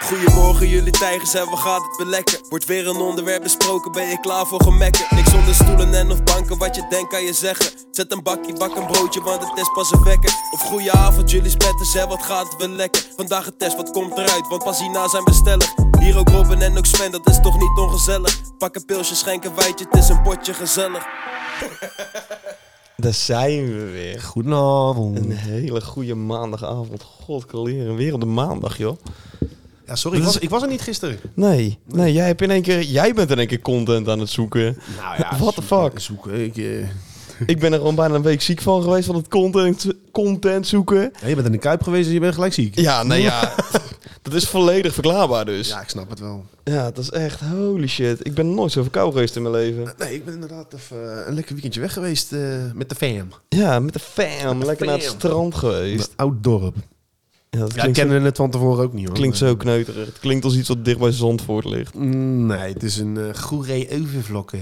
Goedemorgen jullie tijgers en wat gaat het weer lekker? Wordt weer een onderwerp besproken, ben je klaar voor gemekken? Niks onder stoelen en of banken, wat je denkt kan je zeggen Zet een bakje, bak een broodje, want het is pas een wekker Of goeie avond jullie spetters en wat gaat het weer lekker? Vandaag een test, wat komt eruit, want pas hierna zijn we stellig Hier ook Robin en ook Sven, dat is toch niet ongezellig? Pak een pilsje, schenk een wijtje, het is een potje gezellig Daar zijn we weer. Goedenavond. Een hele goede maandagavond. God, kaleren. Weer op de maandag, joh. Ja, sorry, Dat ik was, is- ik was er niet gisteren. Nee, nee jij, hebt in één keer, jij bent in één keer content aan het zoeken. Nou ja, What the zoeken- fuck? Zoeken. Ik, eh, Ik ben er gewoon bijna een week ziek van geweest van het content, content zoeken. ja, je bent in de Kuip geweest en je bent gelijk ziek. Ja, nee, ja. dat is volledig verklaarbaar dus. Ja, Ja. ik snap het wel. dat is echt holy shit. Ik ben nooit zo verkouden geweest in mijn leven. Nee, ik ben inderdaad even eh, een lekker weekendje weg geweest eh, met de fam. Ja, met de fam. lekker naar het fam. strand geweest. oud dorp. Ja, dat Ja, ik klinkt, zo, kende het van tevoren ook niet hoor. klinkt zo kneuterig. Het klinkt als iets wat dicht bij Zandvoort ligt. Mm, Nee, het is een uh, goeree overvlokke.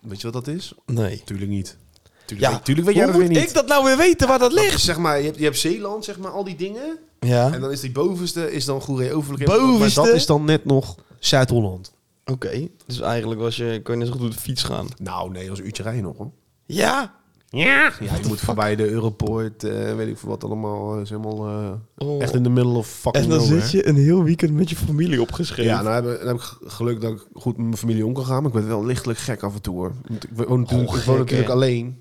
Weet je wat dat is? Nee. Tuurlijk niet. Tuurlijk, Ja, weet, tuurlijk weet jij Hoe dat weer moet niet. ik dat nou weer weten waar dat ligt? Zeg maar, je hebt, je hebt Zeeland, zeg maar, al die dingen. Ja. En dan is die bovenste, is dan goeree overvlokke. Bovenste? Maar dat is dan net nog Zuid-Holland. Oké, dus eigenlijk was je, kon je net zo goed op de fiets gaan. Nou nee, als uurtje rijden nog hoor. Ja! Ja, je moet voorbij de Europoort, eh, weet ik veel wat allemaal. is helemaal eh, Oh. echt in de middle of fucking En dan nowhere. zit je een heel weekend met je familie opgeschreven. Ja, nou heb, ik- dan heb ik g- geluk dat ik goed met mijn familie om kan gaan. Maar ik ben wel lichtelijk gek af en toe hoor. Want Ik woon natuurlijk, Goh, ik woon gek, natuurlijk hè? alleen.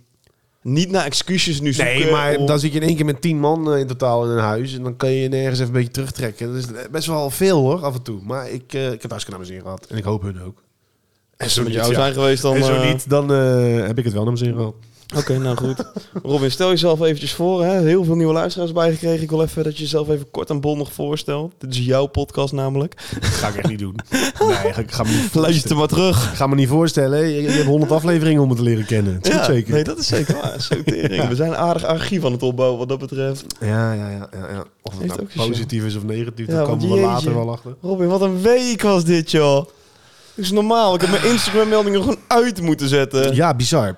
Niet naar excuses nu zoeken. Nee, maar om- dan zit je in één keer met tien man eh, in totaal in een huis. En dan kan je je nergens even een beetje terugtrekken. Dat is best wel veel hoor, af en toe. Maar ik, eh, ik heb hartstikke naar mijn zin gehad. En ik hoop hun ook. En Als ze met jou zijn geweest dan... en zo eh, niet, dan eh, heb ik het wel naar mijn zin gehad. Oké, nou goed. Robin, stel jezelf eventjes voor. Hè? Heel veel nieuwe luisteraars bijgekregen. Ik wil even dat je jezelf even kort en bondig voorstelt. Dit is jouw podcast namelijk. ga ik echt niet doen. Nee, ik ga me niet Luister maar terug. Ik ga me niet voorstellen. Je, je hebt 100 afleveringen om het te leren kennen. Dat is goed zeker. Nee, dat is zeker waar. Zo tering. We zijn een aardig archief aan het opbouwen wat dat betreft. Ja, ja, ja, ja, ja. Of het Heeft nou ook zo. positief is of negatief, Ja, daar komen want we jeetje. later wel achter. Robin, wat een week was dit, joh. Dat is normaal. Ik heb mijn Instagram-meldingen gewoon uit moeten zetten. Ja, Ah. Ja, bizar.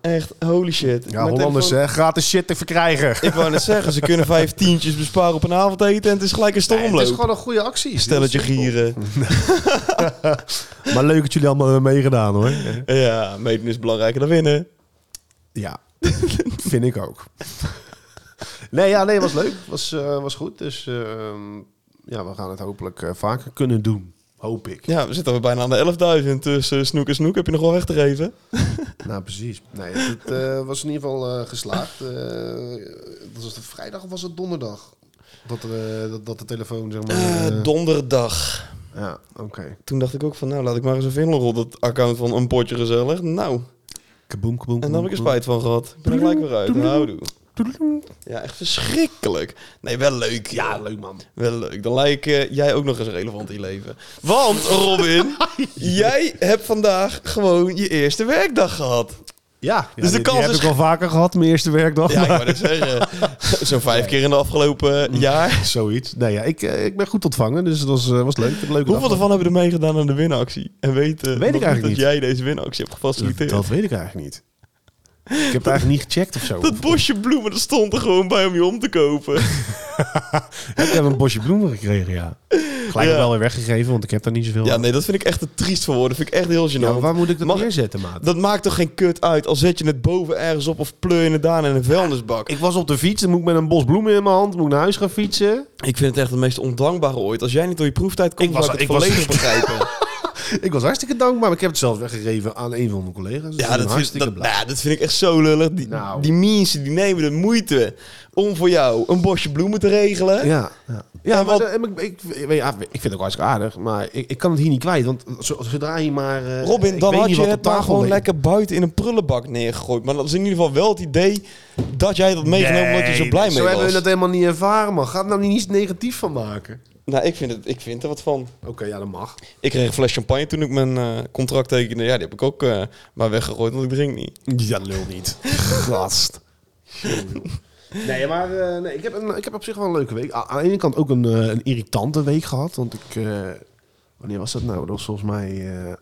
echt. Holy shit. Ja, Mijn Hollanders, telefoon- hè. Gratis shit te verkrijgen. Ik wou net zeggen, ze kunnen vijf tientjes besparen op een avondeten en het is gelijk een Nee, het stormloop. is gewoon Hm. een goede actie. Stelletje gieren. Maar leuk dat jullie allemaal hebben meegedaan, hoor. Ja, meten is belangrijker dan winnen. Ja, vind ik ook. Nee, ja, nee, was leuk. Was, eh, was goed. Dus ehm, ja, we gaan het hopelijk eh, vaker kunnen doen. Hoop ik. Ja, we zitten weer bijna aan de 11.000. Dus eh, snoek en snoek heb je nog wel weg te geven. Nou, precies. Nee, het eh, was in ieder geval eh, geslaagd. Eh, was het vrijdag of was het donderdag? Dat, eh, dat, dat de telefoon, zeg maar... Eh, eh, donderdag. ja, oké. Toen dacht ik ook van, nou laat ik maar eens een vinger op dat account van een potje gezellig. Nou, Kaboom, kaboom. En daar heb ik er spijt van gehad. Ik ben er gelijk weer uit. Nou, Houdoe. Ja, echt verschrikkelijk. Nee, wel leuk. Ja, Ja, leuk man. wel leuk. Dan lijk eh, jij ook nog eens relevant in je leven. Want, Robin, jij hebt vandaag gewoon je eerste werkdag gehad. Ja, de dus de kans kans heb is- ik al vaker gehad, mijn eerste werkdag. Ja, ik maar- wou net zeggen. Zo'n vijf keer in de afgelopen Mm. jaar. Zoiets. Nee, ja, ik, eh, ik ben goed ontvangen, dus het was, eh, was leuk. Ik heb een leuke Hoeveel dag ervan hebben er meegedaan aan de winactie? En weten nog ik niet eigenlijk dat niet. jij deze winactie hebt gehad. gefaciliteerd? Dat Dat, weet ik eigenlijk niet. Ik heb het eigenlijk niet gecheckt of zo. bosje bloemen, dat stond er gewoon bij om je om te kopen. Ik heb een bosje bloemen gekregen, ja. Gelijk Ja. wel weer weggegeven, want ik heb daar niet zoveel Ja, aan. nee, dat vind ik echt te triest voor woorden. vind ik echt heel gênant. Ja, maar waar moet ik dat Mag- neerzetten, maat? Dat maakt toch geen kut uit. Al zet je het boven ergens op of pleur je het daar in een vuilnisbak. Ik was op de fiets, dan moet ik met een bos bloemen in mijn hand, moet ik naar huis gaan fietsen. Ik vind het echt het meest ondankbare ooit. Als jij niet door je proeftijd komt, Ik zou was- ik het ik was- volledig begrijpen. Ik was hartstikke dankbaar, maar ik heb het zelf weggegeven aan een van mijn collega's. Dus ik Ja, ben dat vind, hartstikke dat, blij. ja, dat vind ik echt zo lullig. Die, Nou. die mensen die nemen de moeite om voor jou een bosje bloemen te regelen. Ja, ja. ja En wat- maar de- ik, ik, ik, weet- ja, ik vind het ook hartstikke aardig, maar ik, ik kan het hier niet kwijt. Want zo- zodra je maar... eh, Robin, ik dan weet had niet je wat op het maar tafel gewoon ligt. lekker buiten in een prullenbak neergegooid. Maar dat is in ieder geval wel het idee dat jij dat had meegenomen omdat je zo blij mee Zo hebben was. we dat helemaal niet ervaren, man. Ga er nou niet iets negatiefs van maken. Nou, ik vind, het, ik vind er wat van. Oké, ja, dat mag. Ik kreeg een fles champagne toen ik mijn eh, contract tekende. Ja, die heb ik ook eh, maar weggegooid, want ik drink niet. Ja, lul niet. Gast. Nee, maar eh, nee, ik, heb een, ik heb op zich wel een leuke week. A- Aan de ene kant ook een, eh, een irritante week gehad. Want ik... eh, wanneer was dat nou? Dat was volgens mij eh,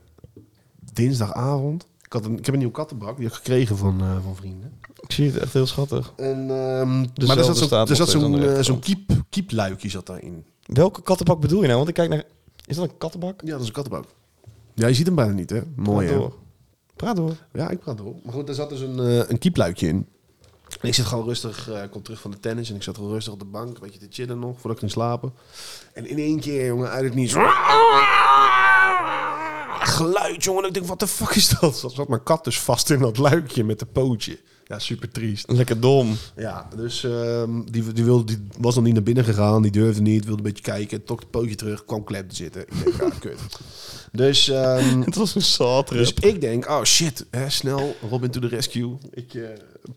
dinsdagavond. Ik, had een, ik heb een nieuw kattenbak, die heb ik gekregen van, eh, van vrienden. Ik zie het echt heel schattig. En, ehm maar er Dezelfde zat zo'n- staat er nog zat steeds aan zo'n de eh, rechterkant. zo'n kiep, kiepluikje zat daarin. Welke kattenbak bedoel je nou? Want ik kijk naar... Is dat een kattenbak? Ja, dat is een kattenbak. Ja, je ziet hem bijna niet, hè? Mooi, Praat hè? door. Praat door. Ja, ik praat door. Maar goed, daar zat dus een, eh, een kiepluikje in. En ik zit gewoon rustig, eh, ik kom terug van de tennis en ik zat gewoon rustig op de bank, een beetje te chillen nog, voordat ik ging slapen. En in één keer, jongen, uit het niets. Geluid, jongen. Ik denk, wat de fuck is dat? Zat zat mijn kat dus vast in dat luikje met de pootje. Ja, super triest. Lekker dom. Ja, dus ehm, die, die, wilde, die was nog niet naar binnen gegaan. Die durfde niet, wilde een beetje kijken. Trok het pootje terug, kwam klep te zitten. Ik denk, ah, kut. Dus ehm, Het was een satere. dus ik denk, oh shit, hè, snel, Robin to the rescue. Ik eh,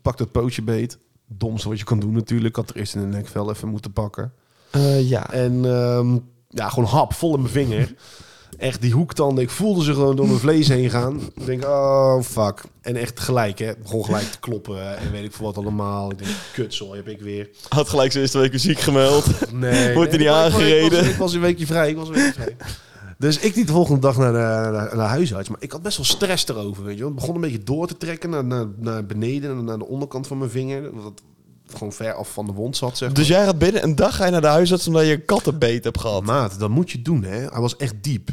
pak dat pootje beet. Domste wat je kan doen natuurlijk. Ik had er eerst in de nekvel even moeten pakken. Eh, ja. En ehm, ja, gewoon hap, vol in mijn vinger. Echt die hoektanden, ik voelde ze gewoon door mijn vlees heen gaan. Ik denk, oh fuck. En echt gelijk, hè. Begon gelijk te kloppen en weet ik veel wat allemaal. Ik denk, kutzooi heb ik weer. Had gelijk zijn eerste week muziek gemeld. Nee. Wordt er nee, niet maar ik was- Ik was, aangereden. ik was een weekje vrij. Ik was een weekje vrij. Dus ik niet de volgende dag naar, de, naar, naar huisarts. Maar ik had best wel stress erover. Weet je. wel. Het begon een beetje door te trekken naar, naar, naar beneden, naar de onderkant van mijn vinger. Wat gewoon ver af van de wond zat, zeg Dus jij gaat binnen een dag ga je naar de huisarts omdat je een kattenbeet hebt gehad. Maat, dat moet je doen, hè. Hij was echt diep.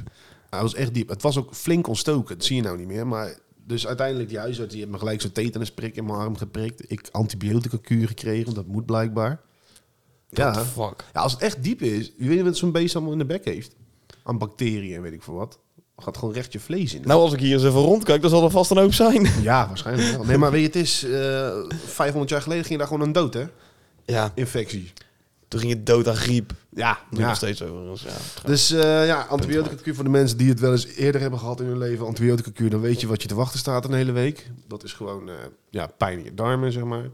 Hij was echt diep. Het was ook flink ontstoken. Dat zie je nou niet meer. Maar dus uiteindelijk, die huisarts die heeft me gelijk zo'n tetanusprik in mijn arm geprikt. Ik antibiotica kuur gekregen, want dat moet blijkbaar. What the fuck? Ja, als het echt diep is, je weet niet wat zo'n beest allemaal in de bek heeft. Aan bacteriën en weet ik veel wat. Gaat gewoon recht je vlees in. Nou, als ik hier eens even rondkijk, dan zal er vast een hoop zijn. Ja, waarschijnlijk wel. Nee, maar weet je, het is... eh, 500 jaar geleden ging daar gewoon een dood, hè? Ja, Infectie. toen ging je dood aan griep. Ja, Nu nog steeds overigens, ja. Dus eh, ja, antibiotica kuur voor de mensen die het wel eens eerder hebben gehad in hun leven. Antibiotica kuur, dan weet je wat je te wachten staat een hele week. Dat is gewoon eh, ja, pijn in je darmen, zeg maar.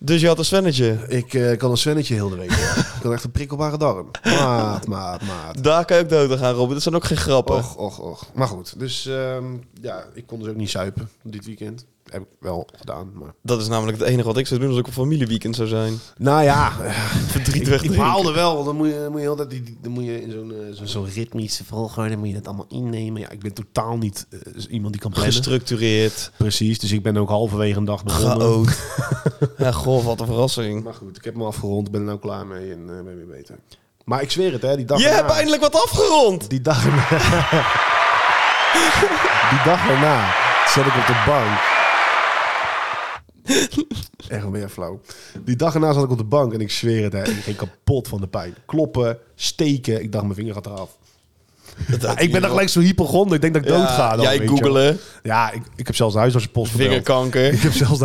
Dus je had een zwennetje. Ik eh, kan een zwennetje heel de week. ik kan echt een prikkelbare darm. Maat, maat, maat. Daar kan je ook dood aan gaan, Robert. Dat zijn ook geen grappen. Och, och, och. Maar goed, dus ehm, ja, ik kon dus ook niet zuipen dit weekend. Heb ik wel gedaan, maar... Dat is namelijk het enige wat ik zou doen als ik op familieweekend zou zijn. Nou ja, Verdriet ik, ik wegdrinken. baalde wel. Want dan moet je, dan moet je, altijd die, die- dan moet je in zo'n eh, zo'n zo'n ritmische volgorde moet je dat allemaal innemen. Ja, ik ben totaal niet eh, iemand die kan plannen. Gestructureerd. Precies, dus ik ben ook halverwege een dag begonnen. Geoot. ja, goh, wat een verrassing. oh. Maar goed, ik heb me afgerond, ben er nou klaar mee en eh, ben weer beter. Maar ik zweer het, hè, die dag Je erna- hebt eindelijk wat afgerond! Die dag Die dag erna zat ik op de bank. Echt weer flauw. Die dag erna zat ik op de bank en ik zweer het, hè, ik ging kapot van de pijn. Kloppen, steken, ik dacht mijn vinger gaat eraf. Ja, ik ben dan gelijk zo hypochonder, ik denk dat ik dood ga. Dan, Jij weet je wel. googelen, Ja, ik, ik heb zelfs de huisartsenpost gebeld. Ik vingerkanker. heb zelfs de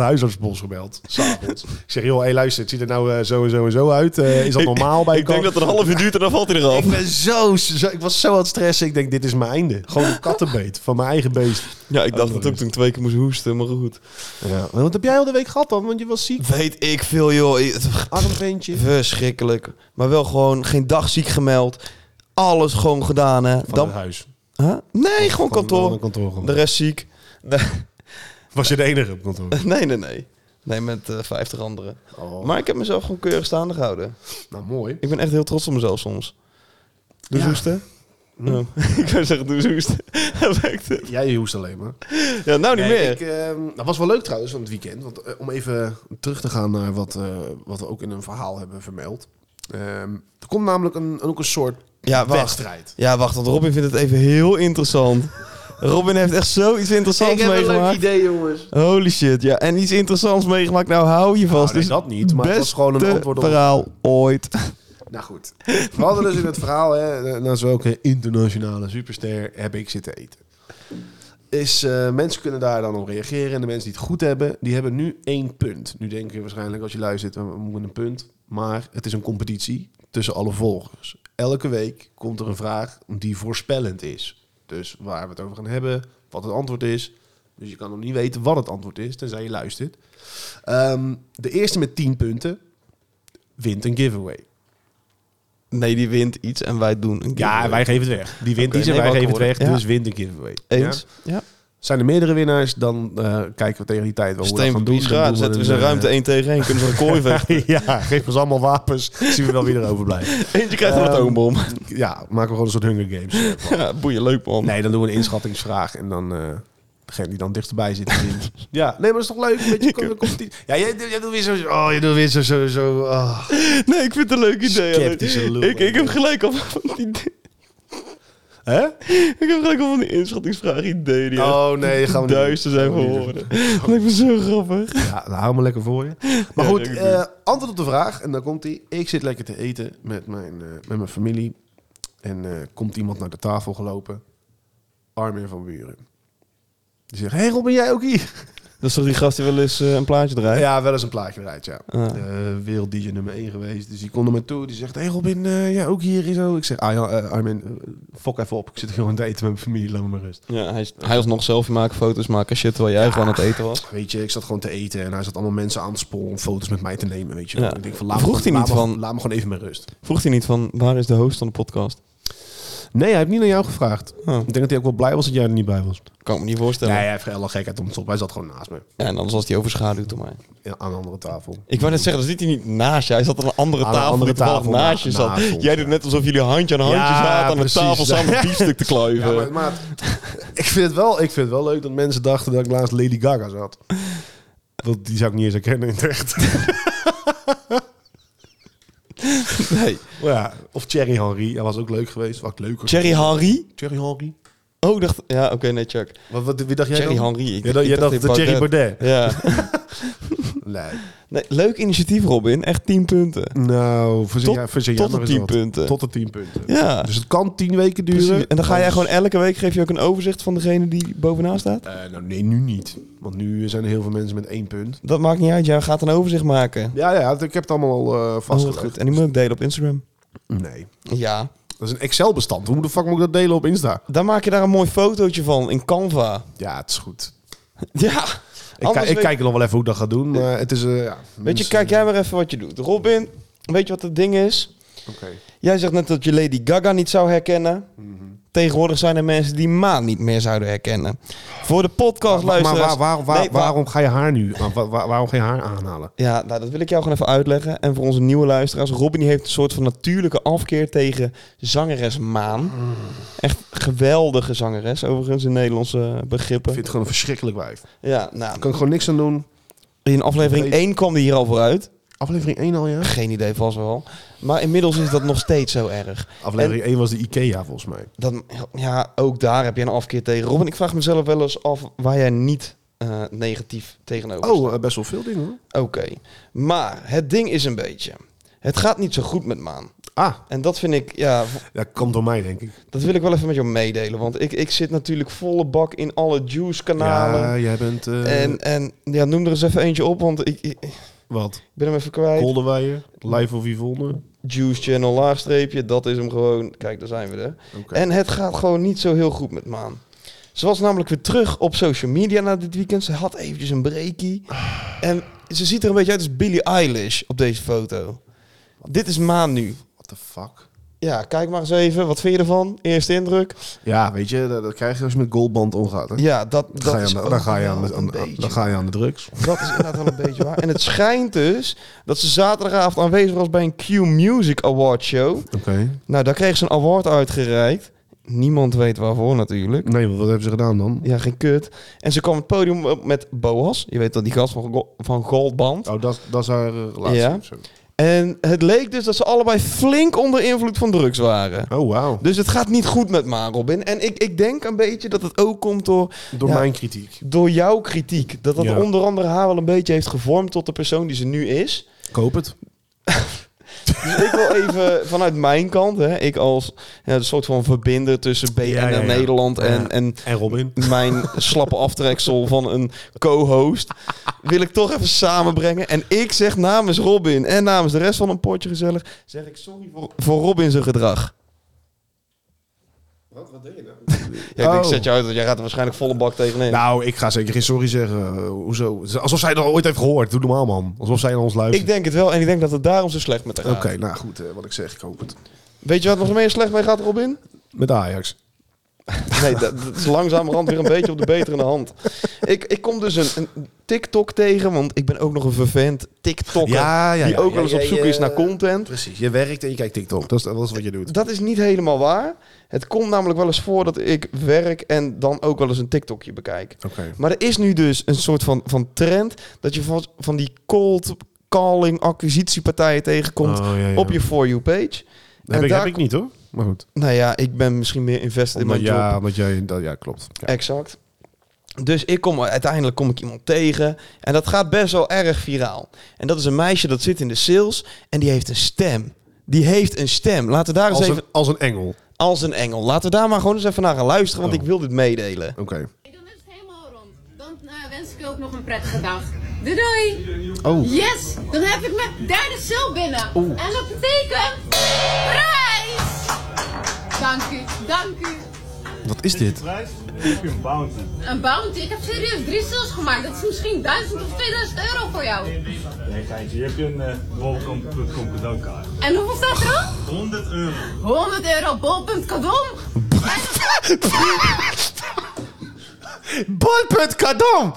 huisartsbos gebeld. S'avonds. Ik zeg, joh, hey, luister, het ziet er nou eh, zo en zo en zo uit. Eh, is dat normaal bij Ik denk dat het een half uur duurt en dan valt hij eraf. Ik ben zo, zo- ik was zo aan het stressen. Ik denk, dit is mijn einde. Gewoon een kattenbeet van mijn eigen beest. Ja, Oh, ik dacht dat ook toen ik twee keer moest hoesten, maar goed. Ja. Wat heb jij al de week gehad dan? Want je was ziek. Weet ik veel, joh. Arm ventje. Verschrikkelijk. Maar wel gewoon geen dag ziek gemeld. Alles gewoon gedaan, hè. Van Dan, het huis. Huh? Nee, gewoon Van kantoor. een kantoor gewoon. De rest ziek. Nee, Was je de enige op kantoor? nee, nee. Nee, nee met eh 50 anderen. Oh. Maar ik heb mezelf gewoon keurig staande gehouden. Nou, mooi. Ik ben echt heel trots op mezelf soms. Doe Ja. hoesten. Oh. ik zou zeggen, doe eens hoesten. Dat werkt het. Jij hoest alleen maar. Ja, nou niet Nee, meer. Ik, ehm, dat was wel leuk trouwens van het weekend. Want, eh, om even terug te gaan naar wat, eh, wat we ook in een verhaal hebben vermeld. Ehm, er komt namelijk een, ook een soort Ja, wacht. wedstrijd. Ja, wacht, want Robin vindt het even heel interessant. Robin heeft echt zoiets interessants meegemaakt. idee, jongens. Holy shit, ja. En iets interessants meegemaakt. Nou, hou je vast. nee, Dus dat niet, maar het was gewoon een beste antwoord op- verhaal ooit. Nou goed. We hadden dus in het verhaal, hè, naast welke internationale superster heb ik zitten eten. Is, eh, mensen kunnen daar dan op reageren. En de mensen die het goed hebben, die hebben nu één punt. Nu denk je waarschijnlijk als je luistert, we moeten een punt. Maar het is een competitie tussen alle volgers. Elke week komt er een vraag die voorspellend is. Dus waar we het over gaan hebben, wat het antwoord is. Dus je kan nog niet weten wat het antwoord is, tenzij je luistert. Ehm, de eerste met 10 punten wint een giveaway. Nee, die wint iets en wij doen een Ja, giveaway. en wij geven het weg. Die wint Oké, iets en nee, wij wakker geven het weg. worden. Ja. Dus wint een giveaway. Eens? Ja. Ja. Zijn er meerdere winnaars, dan eh, kijken we tegen die tijd wel hoe Steen we dat gaan van doen. Dan doen Dan zetten we zijn een, ruimte eh, 1 tegen 1. Kunnen we een kooi vechten. ja, geef ons allemaal wapens. Zien we wel wie er overblijft. Eentje krijgt een Ehm, atoombom. Ja, maken we gewoon een soort Hunger Games. Ja, boeien, leuk man. Nee, dan doen we een inschattingsvraag en dan eh, Degene die dan dichterbij zit. die wint. ja, nee, maar dat is toch leuk? Een beetje com- competitie. Ja, jij, jij doet weer zo... Oh, je doet weer zo... zo, zo ah. Nee, ik vind het een leuk idee. alleen. Sceptische lul, ik, ik heb eigenlijk. gelijk al van die, Hè? ik heb gelijk al van die inschattingsvraag ideeën die echt Oh nee, dat gaan we niet duister zijn Gaan we niet geworden. Dat lijkt me zo grappig. doen. Ja, nou, hou me lekker voor je. Maar Ja, goed, dank je. eh, antwoord op de vraag. En dan komt hij. Ik zit lekker te eten met mijn, eh, met mijn familie. En eh, komt iemand naar de tafel gelopen. Armin van Buren. Die zegt, hey Robin, jij ook hier? Dat is toch die gast die wel eens eh, een plaatje draait? Ja, wel eens een plaatje eruit, ja. Ah. eh wereld DJ nummer 1 geweest. Dus die komt naar me toe. Die zegt, hey Robin, eh ja, ook hier en zo. Ik zeg, ah, ja, eh, Armin, eh, fok even op. Ik zit gewoon te eten met mijn familie. Laat me maar rust. Ja, hij, hij was nog selfie maken, foto's maken, shit, terwijl jij gewoon aan het eten was. Weet je, ik zat gewoon te eten en hij zat allemaal mensen aan te sporen om foto's met mij te nemen, weet je. Ja. Ik denk van, laat Vroeg me, hij laat niet me- van- Laat me gewoon even met rust. Vroeg hij niet van, waar is de host van de podcast? Nee, hij heeft niet naar jou gevraagd. Oh. Ik denk dat hij ook wel blij was dat jij er niet bij was. Kan ik me niet voorstellen. Nee, hij heeft helemaal gekheid om het op. Hij zat gewoon naast me, Ja, en anders was hij overschaduwd door mij. ja, aan de andere tafel. Ik wou net zeggen, dan zit hij niet naast je. Hij zat aan een andere Aan een tafel andere die toevallig tafel naast je na- zat. naast ons, Jij doet ja. net alsof jullie handje aan handje Ja, zaten aan precies. de tafel samen een biefstuk te kluiven. Ja, maar maat, ik, vind het wel, ik vind het wel leuk dat mensen dachten dat ik laatst Lady Gaga zat. Want die zou ik niet eens herkennen in het echt. Nee. Maar ja, of Thierry Henry, dat was ook leuk geweest. Wat leuker. Thierry Henry? Thierry Henry? Oh, ik dacht... Ja, oké, nee, Chuck. Wat, wat, wie dacht jij Thierry dan? Henry. Ik, Jij dacht, ik jij dacht dat Thierry Baudet? Ja. Nee. Nee, leuk initiatief, Robin. Echt 10 punten. Nou, verzin Tot- jij, verzin tot jij maar de eens 10 wat. punten. Tot de 10 punten. Ja. Dus het kan 10 weken duren. Precies. En dan ga jij Anders- gewoon elke week geef je ook een overzicht van degene die bovenaan staat? Eh, nou, nee, nu niet. Want nu zijn er heel veel mensen met één punt. Dat maakt niet uit. Jij gaat een overzicht maken. Ja, ja, ik heb het allemaal al eh Oh, vastgelegd. wat goed. En die moet ik delen op Instagram. Nee. Ja. Dat is een Excel-bestand. Hoe de fuck moet ik dat delen op Insta? Dan maak je daar een mooi fotootje van in Canva. Ja, het is goed. Ja. Ik, Anders kijk- ik weet- kijk nog wel even hoe ik dat ga doen. Maar het is... eh, ja, Weet je, mensen- kijk jij maar even wat je doet. Robin, weet je wat het ding is? Oké. Jij zegt net dat je Lady Gaga niet zou herkennen. Mhm. Tegenwoordig zijn er mensen die Maan niet meer zouden herkennen. Voor de podcast Maar waar, luisteraars... waar- waar- Nee, wa- waarom ga je haar nu... aan- wa- wa- waarom ga je haar aanhalen? Ja, nou, dat wil ik jou gewoon even uitleggen. En voor onze nieuwe luisteraars, Robin die heeft een soort van natuurlijke afkeer tegen zangeres Maan. Mhm. Echt geweldige zangeres, overigens in Nederlandse Ik begrippen. vind het gewoon een verschrikkelijk wijf. Daar Ja, nou, kan ik gewoon niks aan doen. in aflevering 1 kwam die hier al vooruit. Aflevering 1 al, ja? Geen idee, vast wel. Maar inmiddels is dat nog steeds zo erg. Aflevering 1 was de IKEA, volgens mij. Dat, ja, ook daar heb je een afkeer tegen. Robin, ik vraag mezelf wel eens af waar jij niet eh, negatief tegenover staat. Oh, eh, best wel veel dingen, hoor. Oké, maar het ding is een beetje... Het gaat niet zo goed met Maan. Ah, En dat vind ik, ja, dat komt door mij, denk ik. Dat wil ik wel even met jou meedelen. Want ik, ik zit natuurlijk volle bak in alle juice-kanalen. Ja, jij bent... Nou, eh, en, en ja, noem er eens even eentje op, want ik, ik ik Wat? ben hem even kwijt. Kolderweijer? Live of Yvonne? Juice Channel laagstreepje, dat is hem gewoon. Kijk, daar zijn we er. Oké. En het gaat gewoon niet zo heel goed met Maan. Ze was namelijk weer terug op social media na dit weekend. Ze had eventjes een breakie. En ze ziet er een beetje uit als Billie Eilish op deze foto. Dit is Maan nu. What the fuck? Ja, kijk maar eens even. Wat vind je ervan? Eerste indruk. Ja, weet je, dat, dat krijg je als je met goldband omgaat. Hè? Ja, dat, dat dan, ga je is aan de, dan, ook ga je wel aan de, aan een de- aan- beetje dan ga je aan de drugs. Dat is inderdaad wel een beetje waar. En het schijnt dus dat ze zaterdagavond aanwezig was bij een Q Music Award show. Oké. Nou, daar kreeg ze een award uitgereikt. Niemand weet waarvoor natuurlijk. Nee, wat, wat hebben ze gedaan dan? Ja, geen kut. En ze kwam het podium op met Boas. Je weet dat die gast van, Go- van Goldband. Oh, dat, dat is haar eh, relatie. Ja. of zo. En het leek dus dat ze allebei flink onder invloed van drugs waren. Oh, wauw. Dus het gaat niet goed met Ma, Robin. En ik, ik denk een beetje dat het ook komt door Door Ja. mijn kritiek. door jouw kritiek. Dat dat Ja. onder andere haar wel een beetje heeft gevormd tot de persoon die ze nu is. Koop het. Dus ik wil even vanuit mijn kant, hè, ik als ja, een soort van verbinder tussen BNR Ja, ja, ja. Nederland en, Ja. en En Robin. mijn slappe aftreksel van een co-host, wil ik toch even samenbrengen. En ik zeg namens Robin en namens de rest van een potje gezellig, zeg ik sorry voor, voor Robin zijn gedrag. Wat, wat deed je nou? Ja, ik, denk, ik Oh. zet je uit, want jij gaat er waarschijnlijk volle bak tegenin. Nou, ik ga zeker geen sorry zeggen. Eh, hoezo? Alsof zij dat ooit heeft gehoord. Doe normaal, man. Alsof zij naar ons ik luistert. denk het wel en ik denk dat het daarom zo slecht met haar Oké, gaat. nou goed. eh, wat ik zeg, koop het. Weet je wat nog meer slecht mee gaat, Robin? Met Ajax. Nee, dat, dat is langzamerhand weer een beetje op de betere hand. Ik, ik kom dus een, een TikTok tegen, want ik ben ook nog een vervent TikTokker. die ook wel eens op Jij, zoek is eh, naar content. Precies, je werkt en je kijkt TikTok. Dat is, dat is wat je doet. Dat is niet helemaal waar. Het komt namelijk wel eens voor dat ik werk en dan ook wel eens een TikTokje bekijk. Oké. Maar er is nu dus een soort van, van trend dat je van, van die cold calling acquisitiepartijen tegenkomt Oh, ja, ja. op je For You page. heb, ik, daar- heb ik niet hoor. Maar goed. Nou ja, ik ben misschien meer invested in Omdat, mijn job. ja, omdat jij, dat, ja, klopt. Ja. Exact. Dus ik kom, uiteindelijk kom ik iemand tegen en dat gaat best wel erg viraal. En dat is een meisje dat zit in de sales en die heeft een stem. Die heeft een stem. Laten we daar eens Als, even een, als een engel. Oké. als een engel. Laten we daar maar gewoon eens even naar gaan luisteren, want Oh. ik wil dit meedelen. Ik doe het helemaal rond. Dan eh, wens ik je ook nog een prettige dag. Doei doei! Oh. Yes! Dan heb ik mijn derde cel binnen. En dat betekent... Prijs! Dank u, dank u. Wat is dit? prijs heb je een bounty. Een bounty. Ik heb serieus drie sales gemaakt. Dat is misschien 1000 of 2000 euro voor jou. Nee, geintje. Je hebt je een eh, bol.com cadeaukaart. En hoeveel staat er op? 100 euro. 100 euro bol.com. cadeau. Boyput kadom!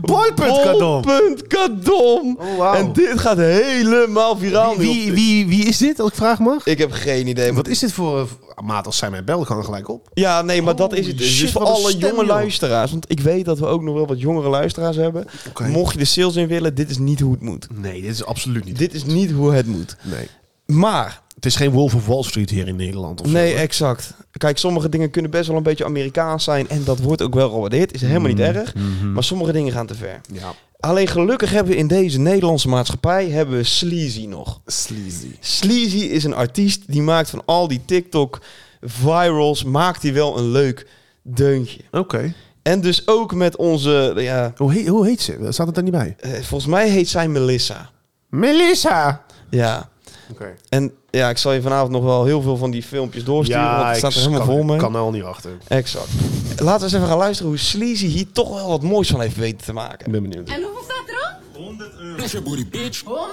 Boyput Punt kadom. Oh, wauw. En dit gaat helemaal viraal nu op Wie, de- wie, wie is dit, als ik vraag mag? Ik heb geen idee. Wat Wat... is dit voor... eh, Maat, als zij mij bellen, gaan gelijk op. Ja, nee, maar dat is het. Holy Dus shit, voor wat een alle stem, jonge joh. luisteraars. Want ik weet dat we ook nog wel wat jongere luisteraars hebben. Oké. Mocht je de sales in willen, dit is niet hoe het moet. Nee, dit is absoluut niet. Dit is niet hoe het moet. Nee. Maar, Het is geen Wolf of Wall Street hier in Nederland. Of zo. nee, exact. Kijk, sommige dingen kunnen best wel een beetje Amerikaans zijn. En dat wordt ook wel gewaardeerd. Is helemaal Mm. niet erg. Mhm. Maar sommige dingen gaan te ver. Ja. Alleen gelukkig hebben we in deze Nederlandse maatschappij hebben we Sleazy nog. Sleazy. Sleazy is een artiest die maakt van al die TikTok virals maakt hij wel een leuk deuntje. Oké. En dus ook met onze ja, Hoe, heet, hoe heet ze? Staat het daar niet bij? eh, volgens mij heet zij Melissa. Melissa! Ja. Oké. En ja, ik zal je vanavond nog wel heel veel van die filmpjes doorsturen, want het staat er helemaal vol mee. kan er al niet achter. Exact. Laten we eens even gaan luisteren hoe Sleazy hier toch wel wat moois van heeft weten te maken. Ik ben benieuwd. En hoeveel staat er op? 100 euro. 100 euro.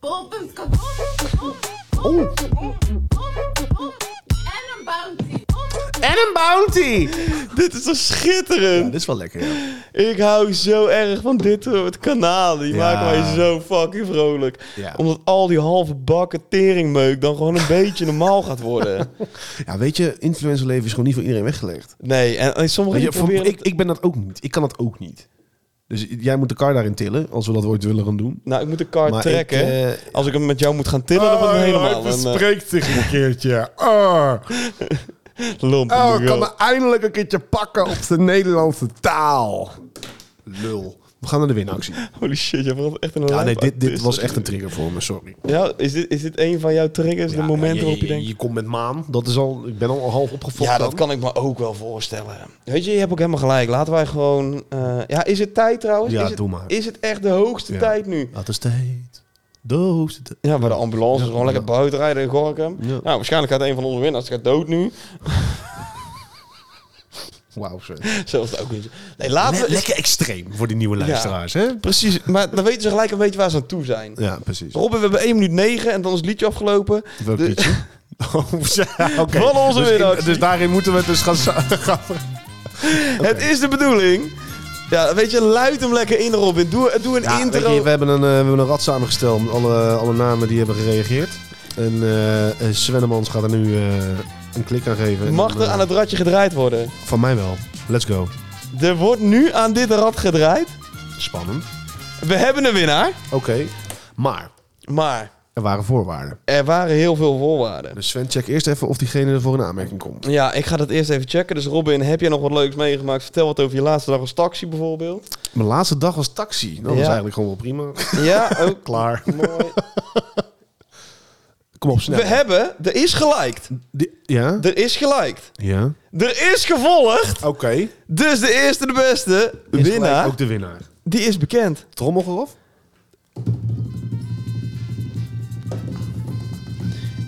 Bol.com. Bol.com. Bol.com. Bol.com. En een bounty. En een bounty! Dit is toch schitterend? dit is wel lekker, ja. Ik hou zo erg van dit soort kanalen. Die Ja. maken mij zo fucking vrolijk. Ja. Omdat al die halve bakken teringmeuk dan gewoon een beetje normaal gaat worden. Ja, weet je, influencerleven is gewoon niet voor iedereen weggelegd. Nee, en, en sommigen Weet die je, voor, proberen... ik, het- ik ben dat ook niet. Ik kan dat ook niet. Dus jij moet de kar daarin tillen, als we dat ooit willen gaan doen. Nou, ik moet de kaart Maar trekken. ik, eh, Als ik hem met jou moet gaan tillen, dan wordt het helemaal een eh, spreekt Oh, zich een keertje. Oh, lomp. Oh, eindelijk een keertje pakken op de Nederlandse taal. Lul. We gaan naar de winactie. Holy shit, jij was echt een Ja, nee, lijp dit, dit artist. was echt een trigger voor me, sorry. Ja, is dit, is dit een van jouw triggers? de Ja, momenten ja, waarop je je, denkt... Je komt met maan, dat is al, ik ben al half opgefokt. Ja, dat dan. kan ik me ook wel voorstellen. Weet je, je hebt ook helemaal gelijk. Laten wij gewoon... eh, ja, is het tijd trouwens? Ja, is het, doe maar. Is het echt de hoogste Ja. tijd nu? Dat is de heet. De hoogste tijd. Ja, maar de ambulance is gewoon lekker buiten rijden in Gorkum. Ja. Nou, waarschijnlijk gaat een van onze winnaars gaat dood nu. Wauw, zo. Zelfs ook niet. Nee, laten we... lekker extreem voor die nieuwe luisteraars, hè? Precies, maar dan weten ze gelijk een beetje waar ze aan toe zijn. Ja, precies. Robin, we hebben 1 minuut 9 en dan is het liedje afgelopen. Welk De- liedje? Oh, ja, oké. Van onze dus, in- winactie. dus daarin moeten we dus gaan... za- gaan- Het is de bedoeling. Ja, weet je, luid hem lekker in, Robin. Doe, doe een Ja, weet intro. je, we, hebben een, eh, we hebben een rad samengesteld met alle, alle namen die hebben gereageerd. En eh, eh, Svennemans gaat er nu eh, een klik aan geven. En Mag dan, er eh, aan het radje gedraaid worden? Van mij wel. Let's go. Er wordt nu aan dit rad gedraaid. Spannend. We hebben een winnaar. Oké. Maar Maar er waren voorwaarden. er waren heel veel voorwaarden. Dus Sven, check eerst even of diegene ervoor in aanmerking komt. Ja, ik ga dat eerst even checken. Dus Robin, heb jij nog wat leuks meegemaakt? Vertel wat over je laatste dag als taxi bijvoorbeeld. Mijn laatste dag was taxi. Nou, Dat Ja. was eigenlijk gewoon wel prima. Ja, ook Klaar. mooi. Kom op, snel. We hebben, er is geliked. Die- Ja? Er is geliked. Ja. Er is gevolgd. Oké. Is Dus de eerste, de beste gelijk winnaar, Ook de winnaar. die is bekend. Trommelgerof?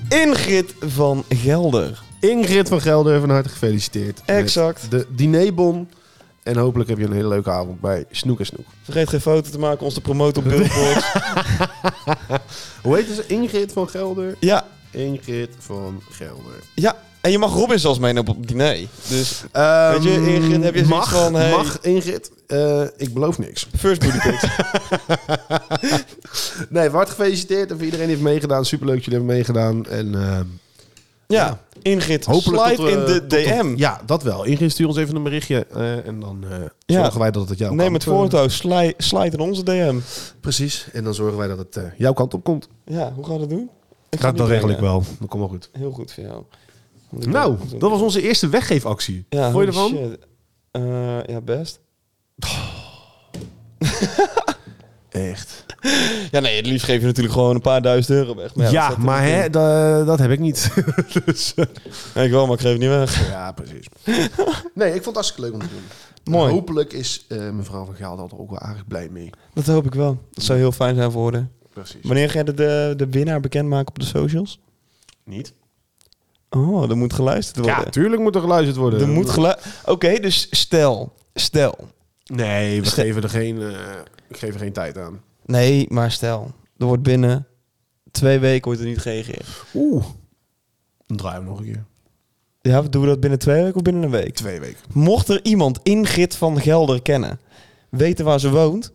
Ingrid van Gelder. Ingrid van Gelder, van harte gefeliciteerd. met Exact. De dinerbon. En hopelijk heb je een hele leuke avond bij Snoek en Snoek. Vergeet geen foto te maken, ons te promoten op Billboard. Hoe heet ze? Ingrid van Gelder? ja, Ingrid van Gelder. ja. En je mag Robin zelfs meenemen op het diner. Dus Ehm, Weet je, Ingrid, heb je zoiets mag, van, hey- Mag, Ingrid. Eh, ik beloof niks. first booty pics. Nee, hard gefeliciteerd. En voor iedereen die heeft meegedaan. Superleuk dat jullie hebben meegedaan. En ehm, ja, Ingrid, hopelijk slide tot, eh, in de tot- tot- DM. ja, dat wel. Ingrid, stuur ons even een berichtje. eh, en dan eh, Ja. zorgen wij dat het jouw Neem kant eh, het eh, voortouw, slide, slide in onze DM. Precies. En dan zorgen wij dat het eh, jouw kant op komt. Ja, hoe gaan we dat doen? Ik ga Dat, het dat niet regel ik brengen. wel. Dat komt wel goed. Heel goed voor jou. Want ik Nou, ben- dat was onze eerste weggeefactie. Ja, Vond je holy ervan? shit. Eh, ja, best. Echt. Ja, nee, het liefst geef je natuurlijk gewoon een paar duizend euro weg. Maar Ja, ja, dat staat er maar niet hè, in. da- dat heb ik niet. dus, eh, Ja, Ik wel, maar ik geef het niet weg. ja, precies. Nee, ik vond het hartstikke leuk om te doen. Mooi. Hopelijk is eh, mevrouw van Gaal daar ook wel aardig blij mee. Dat hoop ik wel. Dat zou heel fijn zijn voor haar. Precies. Wanneer ga je de- de, de winnaar bekendmaken op de socials? Niet? Oh, er moet geluisterd Ja, worden. tuurlijk moet er geluisterd worden. er moet geluisterd... Oké, dus stel. Stel. nee, we geven er geen, eh, ik geef er geen tijd aan. Nee, maar stel. Er wordt binnen twee weken wordt er niet gereageerd. Oeh. Dan draaien we nog een keer. Ja, doen we dat binnen twee weken of binnen een week? Twee weken. Mocht er iemand Ingrid van Gelder kennen, weten waar ze woont,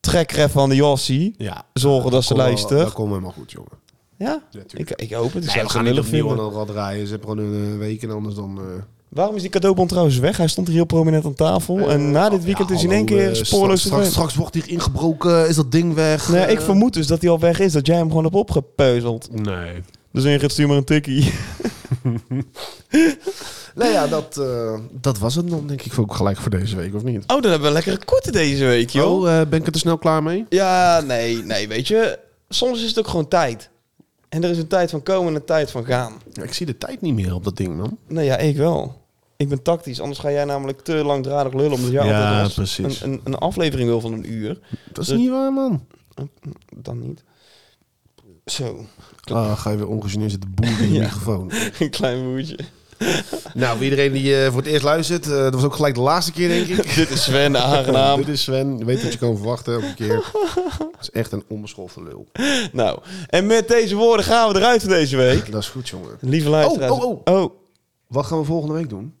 trek er even van de Jossie. Ja. Zorgen dat ze Kom wel- Dat luistert. komt helemaal goed, jongen. Ja, Ja, tuurlijk. ik, ik hoop het. Ik Nee, zou we het gaan zo niet lullig opnieuw aan vinden. dat rad draaien. Ze hebben gewoon een eh, week en anders dan... eh, Waarom is die cadeaubon trouwens weg? Hij stond hier heel prominent aan tafel. en na dit weekend Ja, is hij in één hallo, keer eh, spoorloos straks, verdwenen. straks wordt hier ingebroken, is dat ding weg. Nee, eh, ik vermoed dus dat hij al weg is. Dat jij hem gewoon hebt opgepeuzeld. Nee. Dus Ingrid, stuur maar een tikkie. Nou ja, dat, eh, dat was het dan denk ik ook gelijk voor deze week, of niet? Oh, dan hebben we een lekkere korte deze week, joh. Oh, eh, ben ik er te snel klaar mee? Ja, nee, nee, weet je. Soms is het ook gewoon tijd. En er is een tijd van komen en een tijd van gaan. Ja, ik zie de tijd niet meer op dat ding, man. Nou ja, ik wel. Ik ben tactisch. Anders ga jij namelijk te langdradig lullen. Omdat jij Ja, altijd als precies. Een, een, een aflevering wil van een uur. Dat is Dus- niet waar, man. Dan niet. Zo, Ah, ga je weer ongegeneerd zitten boeren in je Ja. microfoon. een klein moedje. Nou, voor iedereen die eh, voor het eerst luistert, eh, dat was ook gelijk de laatste keer, denk ik. Dit is Sven, aangenaam. Dit is Sven, je weet wat je kan verwachten elke keer. Dat is echt een onbeschofte lul. nou, en met deze woorden gaan we eruit voor deze week. Dat is goed, jongen. Lieve luisteraars. Oh, oh, Wat gaan we volgende week doen?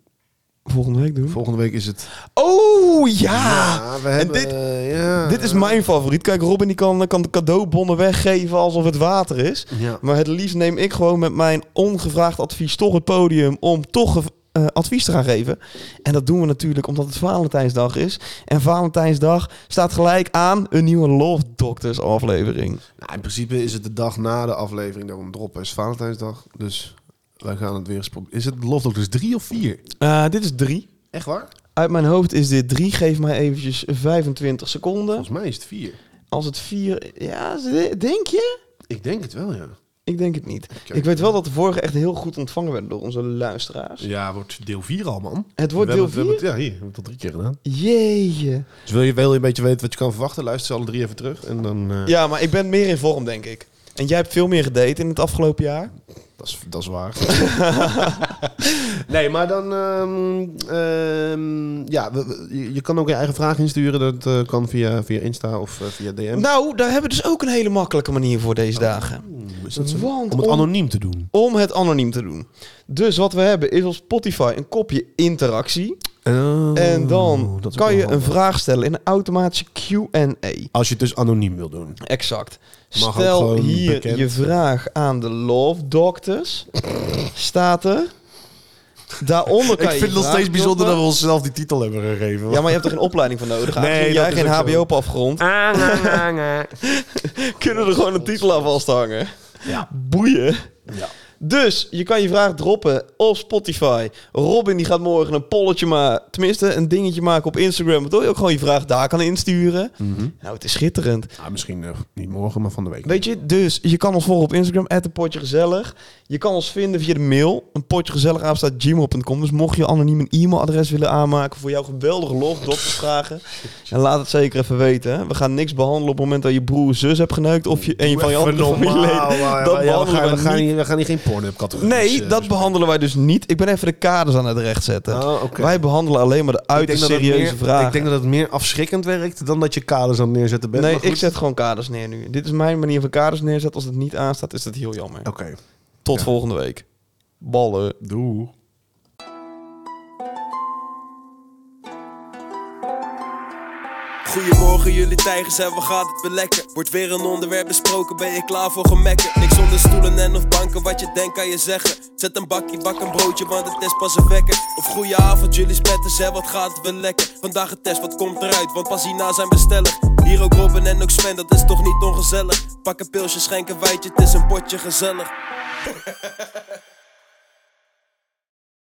volgende week doen. Volgende week is het... Oh, ja. Ja, we en hebben... dit- eh, ja. Dit is mijn favoriet. Kijk, Robin die kan, kan de cadeaubonnen weggeven alsof het water is. Ja. Maar het liefst neem ik gewoon met mijn ongevraagd advies toch het podium om toch eh, advies te gaan geven. En dat doen we natuurlijk omdat het Valentijnsdag is. En Valentijnsdag staat gelijk aan een nieuwe Love Doctors aflevering. Nou, in principe is het de dag na de aflevering dat we hem droppen. Het is Valentijnsdag, dus wij gaan het weer eens proberen. Is het Love Doctors 3 of 4? Eh, dit is drie. Echt waar? Uit mijn hoofd is dit drie. Geef mij eventjes 25 seconden. Volgens mij is het 4. Als het vier... Ja, denk je? Ik denk het wel, ja. Ik denk het niet. Ik weet wel dat de vorige echt heel goed ontvangen werd door onze luisteraars. Ja, wordt deel 4 al, man. Het wordt We deel hebben- we 4? hebben- Ja, hier, we hebben het al drie keer gedaan. Jeetje. Dus wil je, wil je een beetje weten wat je kan verwachten, luister ze alle drie even terug. En dan, eh, Ja, maar ik ben meer in vorm, denk ik. En jij hebt veel meer gedate in het afgelopen jaar. dat, is, dat is waar. nee, maar dan... ehm, ehm, ja, we- we- je, je kan ook je eigen vraag insturen. Dat eh, kan via, via Insta of eh, via DM. Nou, daar hebben we dus ook een hele makkelijke manier voor deze dagen. Oeh, is Oh. dat zo? Want Om het om, anoniem te doen. om het anoniem te doen. Dus wat we hebben is op Spotify een kopje interactie. Oh, En dan kan je een vraag stellen in een automatische Q&A. Als je het dus anoniem wil doen. Exact. Mag ook Stel gewoon hier bekend. je vraag aan de Love Doctors. Staat er. Daaronder kan je je vraag droppen. onszelf die titel hebben gegeven. Ja, maar je hebt er geen opleiding voor nodig. Nee, Nee, dat jij is geen ook zo. Ah, HBO op afgrond. Kunnen we er gewoon een titel aan vasthangen. Ja. Boeien. Dus je kan je vraag droppen op Spotify. Robin die gaat morgen een polletje maken. Tenminste, een dingetje maken op Instagram. Waardoor je ook gewoon je vraag daar kan insturen. Mhm. Nou, het is schitterend. Ah, misschien eh, niet morgen, maar van de week. Weet je, dus je kan ons volgen op Instagram, at een potje gezellig. Je kan ons vinden via de mail, een potje gezellig Dus mocht je anoniem een e-mailadres willen aanmaken voor jouw geweldige logdoktersvragen, en laat het zeker even weten. hè. We gaan niks behandelen op het moment dat je broer zus hebt geneukt of je, en je van je andere familieleden. Dat we, behandelen gaan, we, gaan wij niet. hier, we gaan hier geen porn op categorie. Nee, dat behandelen wij dus niet. Ik ben even de kaders aan het recht zetten. Oh, oké. Wij behandelen alleen maar de uiterst serieuze vragen. Ik denk dat het meer afschrikkend werkt dan dat je kaders aan het neerzetten bent. nee, maar goed. ik zet gewoon kaders neer nu. Dit is mijn manier van kaders neerzetten. Als het niet aanstaat, is dat heel jammer. Oké, Tot Ja. volgende week. Ballen. Doe. Goedemorgen jullie tijgers en wat gaat het weer lekker? Wordt weer een onderwerp besproken, ben je klaar voor gemekken? Niks onder stoelen en of banken, wat je denkt kan je zeggen Zet een bakje, bak een broodje, want het is pas een wekker Of goeie avond jullie spetters en wat gaat het weer lekker? Vandaag een test, wat komt eruit, want pas hierna zijn bestellig Hier ook Robin en ook Sven, dat is toch niet ongezellig? Pak een pilsje, schenk een wijtje, het is een potje gezellig